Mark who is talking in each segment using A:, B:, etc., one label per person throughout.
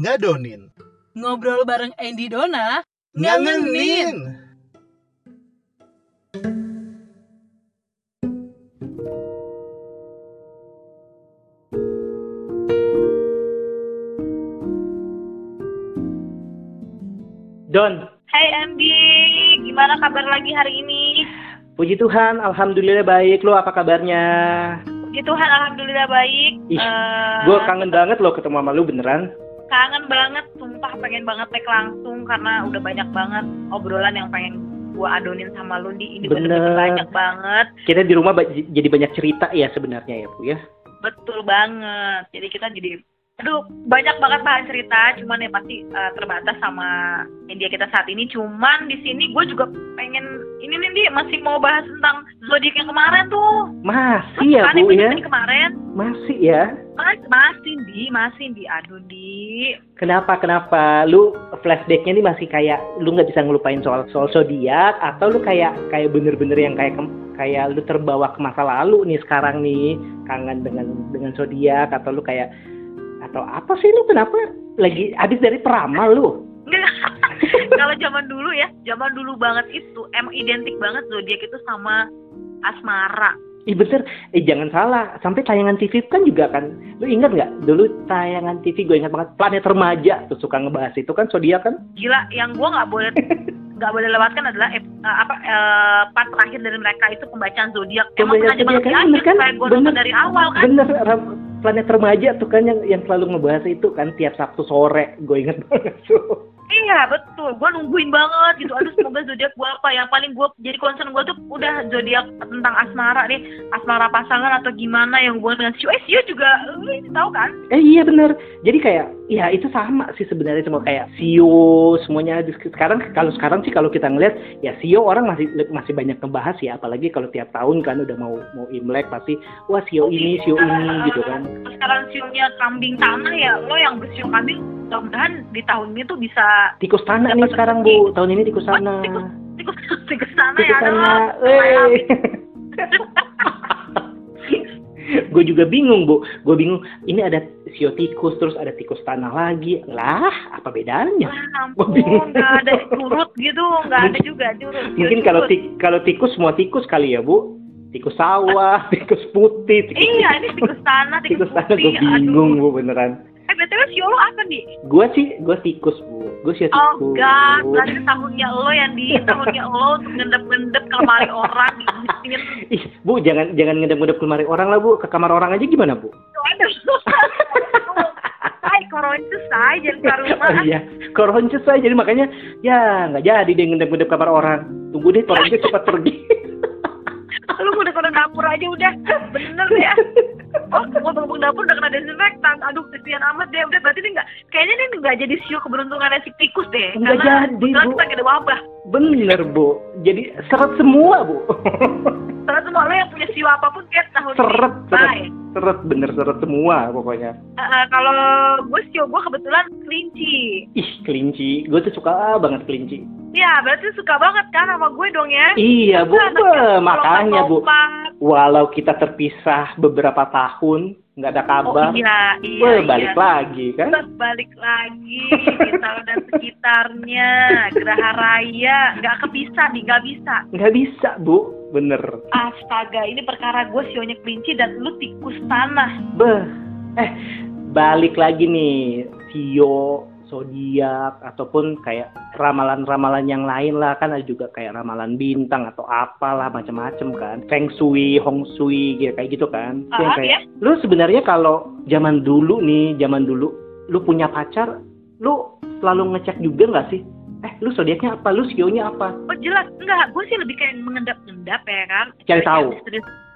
A: ngadonin
B: Ngobrol bareng Andy Dona, ngangenin.
A: ngangenin
C: Don,
D: Hai Andi, gimana kabar lagi hari ini?
C: puji Tuhan, alhamdulillah baik. Lo apa kabarnya?
D: Puji Tuhan, alhamdulillah baik.
C: Ih, kan-
D: Eh,
C: Gue kangen banget lo ketemu sama lo beneran.
D: kangen banget, sumpah pengen banget tag langsung karena udah banyak banget obrolan yang pengen gua adonin sama lu di ini
C: Bener.
D: bener-bener banyak banget,
C: Kita di rumah ba- jadi banyak cerita ya sebenarnya ya bu ya.
D: betul banget. Jadi kita jadi aduh banyak banget bahan cerita, cuman ya pasti eh, terbatas sama media kita saat ini. Cuman di sini gue juga pengen ini nih Di, masih mau bahas tentang zodiak yang kemarin tuh.
C: Masih ya
D: kan
C: bu
D: episode
C: ya,
D: yang kemarin.
C: masih ya.
D: Mas, masih di, masih di, aduh di.
C: Kenapa kenapa? Lu flashbacknya nih masih kayak lu nggak bisa ngelupain soal soal zodiak atau lu kayak kayak bener-bener yang kayak kem- kayak lu terbawa ke masa lalu nih sekarang nih kangen dengan dengan zodiak atau lu kayak atau apa sih lu kenapa lagi habis dari peramal lu?
D: Nggak. Kalau zaman dulu ya, zaman dulu banget itu emang identik banget zodiak itu sama asmara.
C: Ih bener, eh jangan salah, sampai tayangan TV kan juga kan, lu ingat nggak dulu tayangan TV gue ingat banget planet remaja tuh suka ngebahas itu kan zodiak kan,
D: Gila, yang gua nggak boleh nggak boleh lewatkan adalah ep- eh, apa eh, part terakhir dari mereka itu pembacaan zodiak. Emang
C: Pembacaan
D: sengaja banget
C: zodiak,
D: diakhir
C: bener kan?
D: supaya gua nonton
C: Bener.
D: dari awal kan.
C: bener Ra- planet remaja tuh kan yang yang selalu ngebahas itu kan tiap Sabtu sore gue ingat banget tuh.
D: Iya betul, gua nungguin banget gitu. Aduh semoga zodiak gua apa? Yang paling gua jadi concern gua tuh udah zodiak tentang asmara nih, asmara pasangan atau gimana yang hubungan dengan siu. Eh siu juga, eh, tahu kan?
C: Eh iya bener, jadi kayak ya itu sama sih sebenarnya semua kayak Sio semuanya Di- sekarang kalau sekarang sih kalau kita ngeliat ya Sio orang masih masih banyak ngebahas ya apalagi kalau tiap tahun kan udah mau mau Imlek pasti wah Sio ini Sio ini gitu kan.
D: Terus sekarang siungnya kambing tanah ya lo yang bersiung kambing mudah-mudahan di tahun ini tuh bisa
C: Tikus tanah nih
D: Dapat
C: sekarang
D: rezeki.
C: bu, tahun ini tikus
D: Wah,
C: tanah.
D: tikus- tikus tikus sana ya
C: Tikus tanah,
D: aduh, maaf.
C: gue juga bingung bu, gue bingung. Ini ada sio tikus, terus ada tikus tanah lagi. Lah, apa bedanya?
D: Wah,
C: Gua bingung.
D: "Ah, ampun nggak ada curut gitu nggak ada juga curut
C: Mungkin kalau ti- kalau tikus semua tikus kali ya bu. Tikus sawah, tikus putih. Tikus
D: iya ini tikus tanah
C: Tikus
D: tikus,
C: tanah gue
D: putih
C: bingung bu beneran.
D: aduh eh btw sio lo apa nih
C: Gue sih gue tikus bu, gue sio
D: oh
C: tikus.
D: enggak berarti tahunnya lo yang di tahunnya lo untuk ngendep ngendep ke lemari orang diisiin
C: Ih, bu jangan jangan ngedap-ngedap ke lemari orang lah bu, ke kamar orang aja gimana bu?
D: Ay, corona itu say, jangan keluar rumah.
C: Oh iya, koronces saya jadi makanya ya nggak jadi deh ngendep-ngendep kamar orang. Tunggu deh koronces cepat pergi.
D: lu udah kena dapur aja udah bener ya oh ngomong-ngomong dapur udah kena desinfektan aduh kesian amat deh udah berarti ini nggak kayaknya ini nggak jadi siu keberuntungannya si tikus deh
C: Nggak
D: karena
C: jadi,
D: kebetulan
C: Bu.
D: kita nggak ada wabah
C: Bener bu, jadi seret semua bu.
D: karena semua lo yang punya siu apapun kayak tahun
C: seret,
D: ini
C: seret,
D: bye
C: seret bener seret semua pokoknya.
D: Eh, eh, kalau gue siu gue kebetulan kelinci
C: Ih kelinci, gue tuh suka banget kelinci.
D: ya berarti suka banget kan sama gue dong ya
C: Iya bu,
D: Anaknya
C: Wah, makanya bu.
D: lompat-lompat.
C: Walau kita terpisah beberapa tahun, nggak ada
D: oh
C: kabar,
D: iya iya
C: weh,
D: iya.
C: balik lagi kan?
D: Terus balik lagi kita dan sekitarnya Geraha Raya nggak kepisah nih nggak bisa
C: Nggak bisa bu, bener.
D: astaga ini perkara gue sionya kelinci dan lu tikus tanah
C: Beh, eh balik lagi nih Sio, zodiak ataupun kayak ramalan-ramalan yang lain lah kan ada juga kayak ramalan bintang atau apalah macam-macam kan feng shui, hong shui gitu kayak gitu kan. Itu yang
D: Ah,
C: kayak, Lu sebenarnya kalau zaman dulu nih, zaman dulu lu punya pacar, lu selalu ngecek juga nggak sih? Eh, lu zodiaknya apa? Lu sionya apa?
D: oh jelas enggak gue sih lebih kayak mengendap-endap ya kan
C: Cari tahu.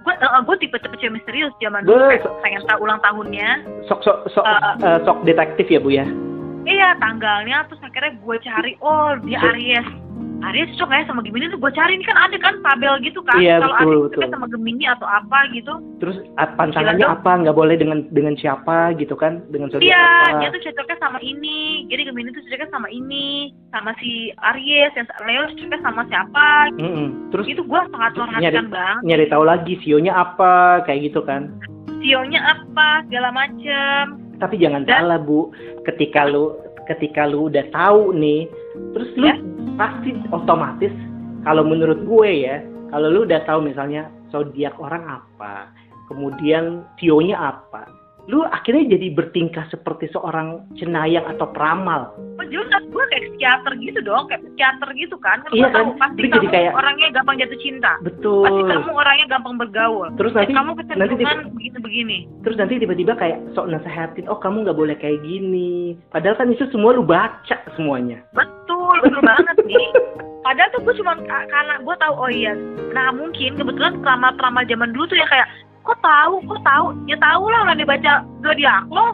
D: gue gue tipe tipe cewek misterius zaman dulu
C: Beh,
D: kayak pengen tahu ulang tahunnya
C: sok sok sok
D: Ah.
C: eh, sok detektif ya, Bu ya.
D: iya tanggalnya terus akhirnya gue cari oh dia
C: Betul.
D: Aries Aries cocok ya sama Gemini tuh gue cari ini kan ada kan tabel gitu kan
C: Iya,
D: kalau
C: betul,
D: Aries
C: betul.
D: cocoknya sama Gemini atau apa gitu
C: terus ah, pantangannya
D: Silakan.
C: apa nggak boleh dengan dengan siapa gitu kan dengan saudara
D: Iya,
C: apa
D: dia tuh cocoknya sama ini. Jadi Gemini tuh cocoknya sama ini, sama si Aries, yang Leo cocoknya sama siapa.
C: Mm-mm. terus
D: Itu gua sangat mengharapkan banget.
C: nyari tahu lagi sionya apa kayak gitu kan
D: Sionya apa, segala macem.
C: tapi jangan
D: Dan-
C: salah bu ketika lu ketika lu udah tahu nih terus lu
D: Ya.
C: pasti otomatis kalau menurut gue ya kalau lu udah tahu misalnya zodiak orang apa kemudian sionya apa lu akhirnya jadi bertingkah seperti seorang cenayang atau peramal
D: Penjurusan gue kayak psikiater gitu dong, kayak psikiater gitu kan. Kan
C: Iya
D: gua tahu,
C: kan?
D: pasti
C: Lu jadi
D: kamu
C: kayak-
D: orangnya gampang jatuh cinta. Pasti
C: betul
D: kamu orangnya gampang bergaul.
C: terus
D: Dan
C: nanti
D: kamu
C: nanti tiba-
D: kecenderungan begini-begini.
C: terus nanti tiba-tiba kayak sok nasehatin oh kamu nggak boleh kayak gini padahal kan itu semua lu baca semuanya
D: Betul, betul banget nih. Padahal tuh gue cuma karena gue tahu oh iya. Nah mungkin kebetulan peramal-peramal zaman dulu tuh ya kayak kok tahu, kok tahu, ya tahu lah udah dibaca zodiak lo.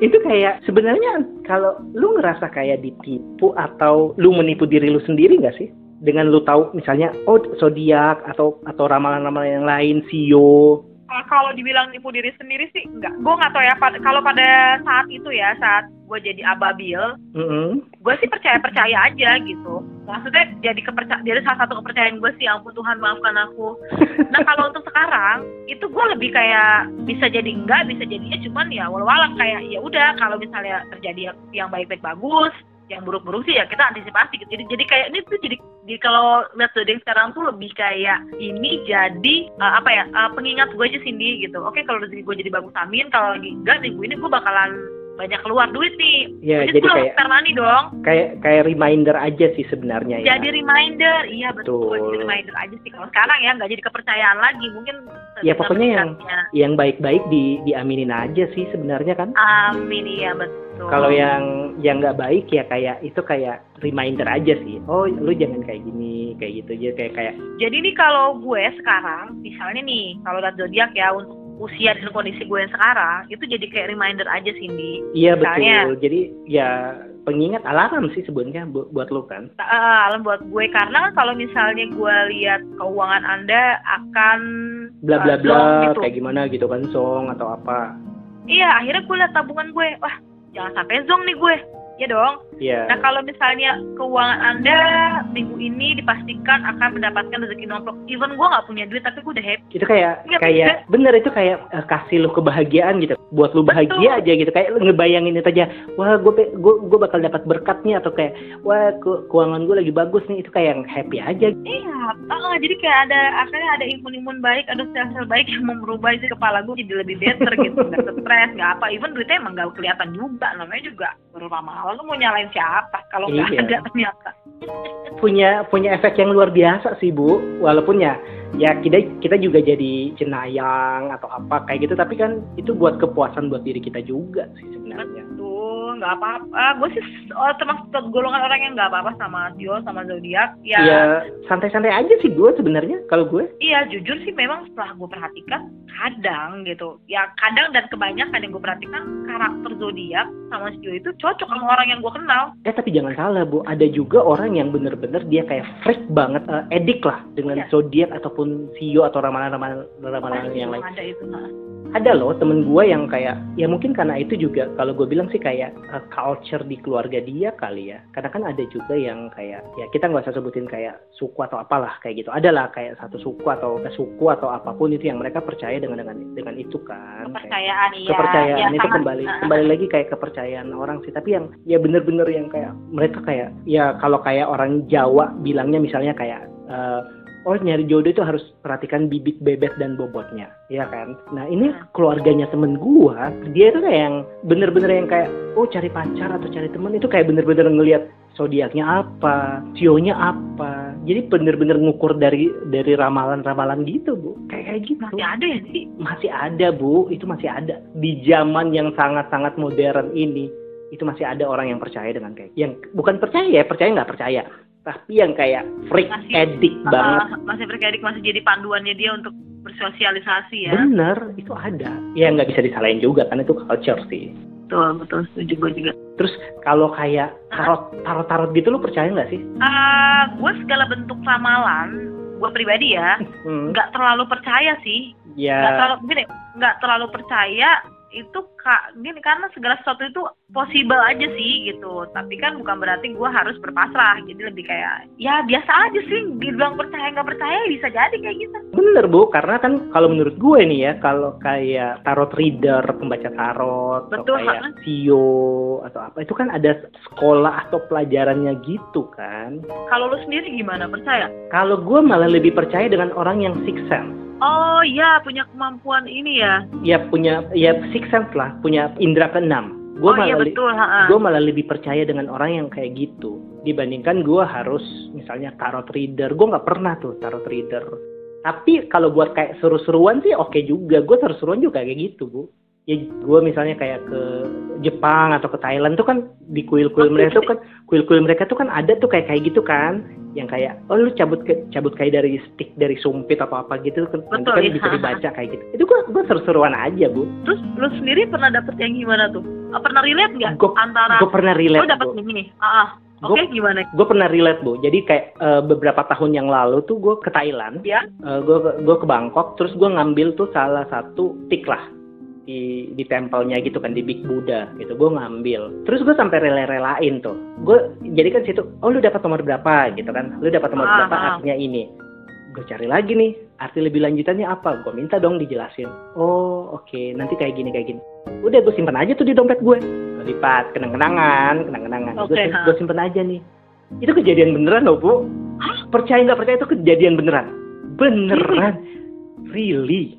C: itu kayak sebenarnya kalau lu ngerasa kayak ditipu atau lu menipu diri lu sendiri nggak sih dengan lu tahu misalnya oh zodiak atau atau ramalan-ramalan yang lain sio
D: Eh, kalau dibilang nipu diri sendiri sih enggak. Gue nggak tahu ya. pad- kalau pada saat itu ya saat gue jadi ababil,
C: Mm-mm.
D: gue sih percaya percaya aja gitu. Maksudnya jadi keperca jadi salah satu kepercayaan gue sih, "Ya ampun Tuhan maafkan aku. Nah kalau untuk sekarang itu gue lebih kayak bisa jadi enggak, bisa jadinya cuman ya walau-walang kayak ya udah kalau misalnya terjadi yang- yang baik-baik bagus, yang buruk-buruk sih ya kita antisipasi gitu. Jadi, jadi kayak ini tuh jadi di kalau lihat zodiak sekarang tuh lebih kayak ini jadi eh, apa ya eh, pengingat gue aja Cindy gitu. Oke kalau rezeki gue jadi bagus amin, kalau lagi enggak minggu ini gue bakalan banyak keluar duit nih.
C: ya
D: jadi
C: jadi
D: gue harus
C: kayak
D: spare money dong.
C: kayak kayak reminder aja sih sebenarnya ya
D: Jadi reminder, iya betul.
C: Betul.
D: Jadi reminder aja sih kalau sekarang ya nggak jadi kepercayaan lagi mungkin.
C: Ya, pokoknya yang-
D: sebenarnya.
C: yang baik-baik di diaminin aja sih sebenarnya kan
D: Amin iya betul.
C: kalau ya- yang yang nggak baik ya kayak itu kayak reminder aja sih oh lu jangan kayak gini kayak gitu aja kayak kayak
D: Jadi nih kalau gue sekarang, misalnya nih kalau lihat zodiak ya untuk usia dan kondisi gue yang sekarang itu jadi kayak reminder aja Cindy.
C: Iya
D: Misalnya-
C: betul. Jadi ya pengingat alarm sih sebenarnya bu- buat lo kan.
D: Ta- eh, alam buat gue karena kan kalau misalnya gue lihat keuangan anda akan
C: Bla bla
D: eh,
C: bla
D: zonk gitu.
C: kayak gimana gitu kan song atau apa.
D: Iya akhirnya gue lihat tabungan gue, wah jangan sampai zong nih gue, ya dong.
C: Iya.
D: Nah kalau misalnya keuangan Anda minggu ini dipastikan akan mendapatkan rezeki nomplok. Even gue nggak punya duit tapi gue udah happy.
C: Itu kayak
D: Iya,
C: kayak bener itu kayak eh, kasih lo kebahagiaan gitu. Buat lo bahagia aja gitu kayak lu ngebayangin itu aja. Wah, gue gue gue bakal dapat berkatnya atau kayak wah ke- keuangan gue lagi bagus nih. Itu kayak yang happy aja.
D: Iya, ah, jadi kayak ada akhirnya ada imun-imun baik, ada sel-sel baik yang mau merubah isi kepala gue jadi lebih better gitu, nggak stres, nggak apa. Even duitnya emang nggak kelihatan juga, namanya juga baru ramalan lu mau nyalain siapa kalau nggak
C: Iya.
D: ada ternyata.
C: Punya punya efek yang luar biasa sih, Bu. Walaupun ya ya kita kita juga jadi cenayang atau apa kayak gitu tapi kan itu buat kepuasan buat diri kita juga sih sebenarnya.
D: Tuh, nggak apa-apa. Gue sih oh, termasuk golongan orang yang nggak apa-apa sama Dio, sama zodiak. Ya,
C: ya santai-santai aja sih gue sebenarnya kalau gue
D: Iya, jujur sih memang setelah gue perhatikan kadang gitu. Ya kadang dan kebanyakan yang gue perhatikan karakter zodiak sama Sio itu cocok sama orang yang gue kenal.
C: eh tapi jangan salah bu ada juga orang yang bener-bener dia kayak freak banget eh, edik lah dengan
D: Iya.
C: zodiak ataupun sio atau ramalan-ramalan ramalan yang Hmm, lain
D: Ada itu. nah.
C: ada loh temen gue yang kayak ya mungkin karena itu juga kalau gue bilang sih kayak eh, culture di keluarga dia kali ya karena kan ada juga yang kayak ya kita nggak usah sebutin kayak suku atau apalah kayak gitu adalah kayak satu suku atau ke suku atau apapun itu yang mereka percaya dengan dengan dengan itu kan Kayak-
D: Kepercayaan iya.
C: kepercayaan
D: Ya,
C: itu
D: sama-
C: kembali
D: Nah,
C: kembali lagi kayak kepercayaan orang sih tapi yang ya bener-bener yang kayak mereka kayak ya kalau kayak orang Jawa bilangnya misalnya kayak eh, oh nyari jodoh itu harus perhatikan bibit bebet dan bobotnya ya kan nah ini
D: Hmm.
C: keluarganya temen gua dia itu kayak yang bener-bener yang kayak oh cari pacar atau cari temen itu kayak bener-bener ngelihat zodiaknya apa, sionya apa. Jadi bener-bener ngukur dari dari ramalan-ramalan gitu, Bu. Kayak kayak gitu
D: Masih ada ya sih.
C: masih ada bu itu masih ada di zaman yang sangat-sangat modern ini itu masih ada orang yang percaya dengan kayak yang bukan percaya ya percaya nggak percaya tapi yang kayak freak
D: Masih-
C: edik banget
D: Ah, masih berkadik masih jadi panduannya dia untuk bersosialisasi ya.
C: bener itu ada ya nggak bisa disalahin juga karena itu culture sih
D: Betul, betul. Setuju gue juga.
C: kalau kayak tarot tarot tarot gitu lu percaya nggak sih
D: Ah, gue segala bentuk ramalan, gue pribadi ya,
C: hmm.
D: nggak terlalu percaya sih. nggak
C: ya
D: terlalu gini nggak terlalu percaya itu kak gini karena segala sesuatu itu possible aja sih gitu tapi kan bukan berarti gue harus berpasrah jadi lebih kayak ya biasa aja sih dibilang percaya nggak percaya bisa jadi kayak gitu
C: Bener bu, karena kan kalau menurut gue nih ya, kalau kayak tarot reader, pembaca tarot, atau
D: Betul,
C: kayak
D: ha.
C: sio atau apa, itu kan ada sekolah atau pelajarannya gitu kan.
D: kalau lu sendiri gimana percaya
C: Kalau gue malah lebih percaya dengan orang yang six sense.
D: oh iya punya kemampuan ini ya
C: Ya punya, ya six sense lah, punya indera keenam. Gue
D: oh iya
C: malah li-
D: betul ha, ha.
C: gue malah lebih percaya dengan orang yang kayak gitu dibandingkan gue harus misalnya tarot reader gue nggak pernah tuh tarot reader tapi kalau buat kayak seru-seruan sih oke juga gue seru-seruan juga kayak gitu bu ya gue misalnya kayak ke Jepang atau ke Thailand tuh kan di kuil-kuil
D: Oke.
C: mereka tuh kan kuil-kuil mereka tuh kan ada tuh kayak kayak gitu kan yang kayak oh lu cabut ke, cabut kayak dari stick dari sumpit atau apa gitu kan nanti
D: Betul,
C: kan
D: iya.
C: bisa dibaca kayak gitu itu gue gue seru-seruan aja bu
D: terus lu sendiri pernah dapet yang gimana tuh Eh, pernah relate nggak
C: Gua-
D: antara
C: gue pernah
D: lu
C: relate
D: dapet
C: Bu.
D: ini ah ah. oke
C: Gua-
D: gimana
C: gue pernah relate bu jadi kayak eh, beberapa tahun yang lalu tuh gue ke Thailand
D: Ya.
C: gue gue ke Bangkok terus gue ngambil tuh salah satu tik lah di di tempelnya gitu kan di Big Buddha gitu gue ngambil terus gue sampai rela-relain tuh gue jadi kan situ oh lu dapat nomor berapa gitu kan lu dapat nomor
D: Ah,
C: berapa
D: ah.
C: artinya ini gue cari lagi nih arti lebih lanjutannya apa gue minta dong dijelasin oh oke nanti kayak gini kayak gini udah gue simpen aja tuh di dompet gue Gua lipat kenang-kenangan kenang-kenangan
D: Oke,
C: gue,
D: ha.
C: gue simpen aja nih itu kejadian beneran loh bu percaya nggak percaya itu kejadian beneran beneran really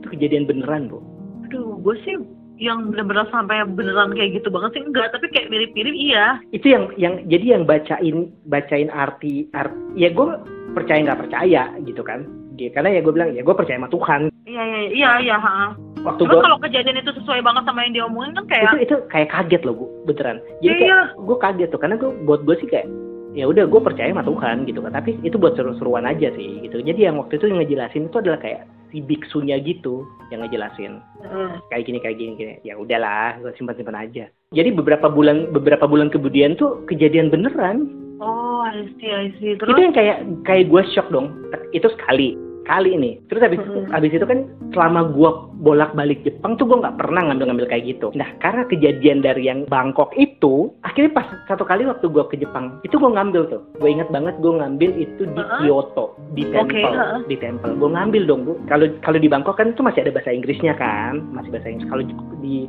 C: itu kejadian beneran bu
D: Aduh, gue sih yang bener-bener sampai beneran kayak gitu banget sih enggak, tapi kayak mirip-mirip iya.
C: itu yang yang jadi yang bacain bacain arti arti ya gue percaya nggak percaya gitu kan Dia- karena ya gue bilang ya gue percaya sama Tuhan
D: Iya, iya, iya, iya, ha.
C: waktu
D: Cuma
C: gue
D: kalau kejadian itu sesuai banget sama yang diomongin kan kayak,
C: itu itu kayak kaget loh bu beneran jadi kayak
D: iya,
C: gue kaget tuh karena gue buat gue sih kayak ya udah gue percaya sama Tuhan gitu kan tapi itu buat seru-seruan aja sih gitu jadi yang waktu itu yang ngejelasin itu adalah kayak si biksunya gitu yang ngejelasin
D: Heeh.
C: kayak gini kayak gini, gini. ya udahlah gue simpan simpan aja jadi beberapa bulan beberapa bulan kemudian tuh kejadian beneran
D: Oh, I see, I see.
C: itu
D: Terus,
C: yang kayak kayak gue shock dong Tek- itu sekali kali ini terus habis itu
D: Mm-mm.
C: habis itu kan selama gue bolak balik Jepang tuh gue nggak pernah ngambil ngambil kayak gitu nah karena kejadian dari yang Bangkok itu akhirnya pas satu kali waktu gue ke Jepang itu gue ngambil tuh gue ingat banget gue ngambil itu di
D: Heeh.
C: Kyoto di
D: Oke,
C: temple
D: heeh.
C: di temple gue ngambil dong bu kalau kalau di Bangkok kan itu masih ada bahasa Inggrisnya kan masih bahasa Inggris kalau di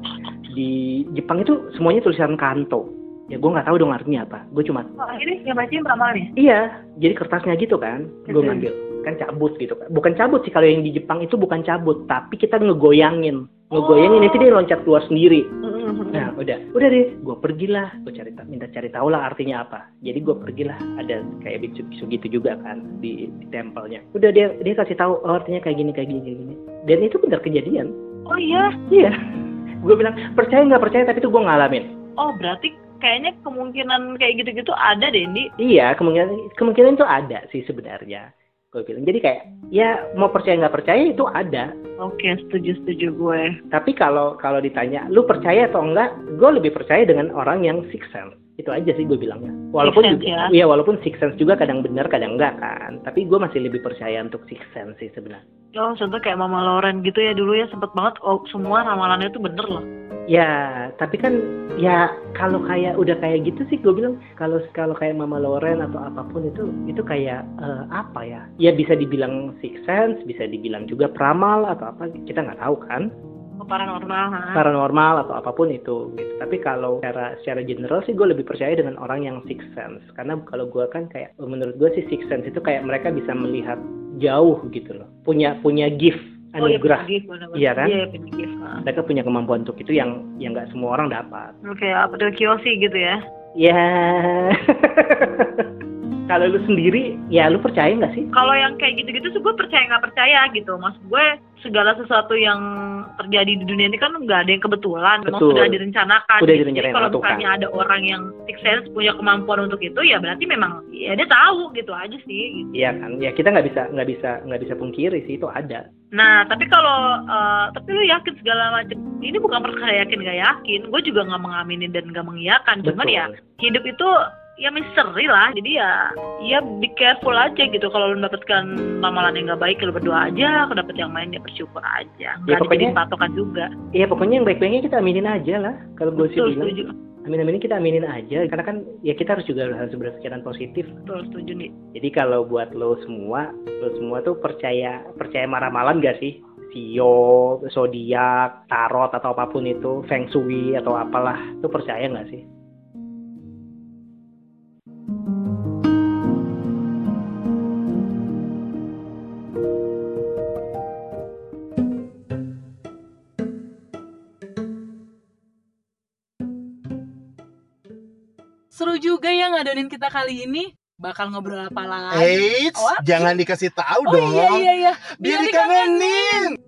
C: di Jepang itu semuanya tulisan kanto ya gue nggak tahu dong artinya apa gue cuma
D: oh, ini yang bacain ramalannya?
C: Iya, jadi kertasnya gitu kan, gue
D: Mhm.
C: ngambil, kan cabut gitu kan. Bukan cabut sih kalau yang di Jepang itu bukan cabut, tapi kita ngegoyangin, ngegoyangin nanti dia loncat keluar sendiri.
D: Ya.
C: Nah udah, Oh. udah deh, gue pergilah, gue cari ta- minta cari tahu lah artinya apa. Jadi gue pergilah, ada kayak biksu-biksu gitu juga kan di, di tempelnya. Udah dia dia kasih tahu oh, artinya kayak gini kayak gini kayak gini. Dan itu benar kejadian.
D: Oh iya,
C: Iya, gue bilang percaya nggak percaya tapi itu gue ngalamin.
D: oh berarti kayaknya kemungkinan kayak gitu-gitu ada deh, Ndi.
C: Iya, kemungkinan kemungkinan itu ada sih sebenarnya. Gue bilang. Jadi kayak ya mau percaya nggak percaya itu ada.
D: Oke, setuju-setuju gue.
C: Tapi kalau kalau ditanya lu percaya atau enggak, gue lebih percaya dengan orang yang six sense. Itu aja sih gue bilangnya. Walaupun
D: sense
C: juga- iya walaupun six sense juga kadang benar kadang enggak kan. Tapi gue masih lebih percaya untuk six sense sih sebenarnya.
D: Oh, contoh kayak Mama Loren gitu ya dulu ya sempet banget oh, semua ramalannya itu bener loh.
C: Ya, tapi kan ya kalau kayak udah kayak gitu sih gue bilang kalau kalau kayak Mama Loren atau apapun itu itu kayak eh, apa ya? Ya bisa dibilang six sense, bisa dibilang juga peramal atau apa kita nggak tahu kan
D: Oh, Paranormal, ha.
C: paranormal atau apapun itu gitu. Tapi kalau secara secara general sih gue lebih percaya dengan orang yang six sense karena kalau gue kan kayak menurut gue sih six sense itu kayak mereka bisa melihat jauh gitu loh. Punya Oh, punya gift anugerah.
D: iya, bener-bener.
C: Iya kan?
D: Iya, penagih. Nah.
C: mereka punya kemampuan untuk itu yang yang nggak semua orang dapat.
D: Oke, apa tuh Kiyoshi gitu ya?
C: Ya. Kalau lu sendiri, ya lu percaya nggak sih?
D: Kalau yang kayak gitu-gitu sih gue percaya nggak percaya gitu. Maksud gue segala sesuatu yang terjadi di dunia ini kan nggak ada yang kebetulan. Memang
C: Betul.
D: sudah direncanakan.
C: Udah
D: Jadi
C: direncanain
D: kalau
C: sama Tuhan.
D: misalnya ada orang yang six sense punya kemampuan untuk itu ya berarti memang ya dia tahu gitu aja sih. Gitu.
C: Iya kan? Ya kita nggak bisa nggak bisa nggak bisa pungkiri sih itu ada.
D: Nah tapi kalau eh, tapi lu yakin segala macam ini bukan perkara yakin nggak yakin. Gue juga nggak mengamini dan nggak mengiyakan. Cuman
C: Betul.
D: ya hidup itu ya misteri lah jadi ya ya be careful aja gitu kalau lu mendapatkan ramalan yang gak baik ya lu berdoa aja kalau dapet yang lain ya bersyukur
C: Ya,
D: aja nggak
C: pokoknya-
D: dijadiin patokan juga
C: Iya pokoknya yang baik-baiknya kita aminin aja lah. Kalau gue sih bilang,
D: betul setuju
C: amin-aminin kita aminin aja. Karena kan ya kita harus juga harus berpikiran positif.
D: betul setuju nih
C: Jadi kalau buat lo semua, lo semua tuh percaya percaya maramalan gak sih? Sio, zodiak, tarot atau apapun itu, feng shui atau apalah, tuh percaya nggak sih?
B: Seru juga yang ngadonin kita kali ini. Bakal ngobrol apa lagi?
A: Eits,
B: What?
A: jangan dikasih tahu
B: oh
A: dong.
B: iya iya iya.
A: Biar dikangenin.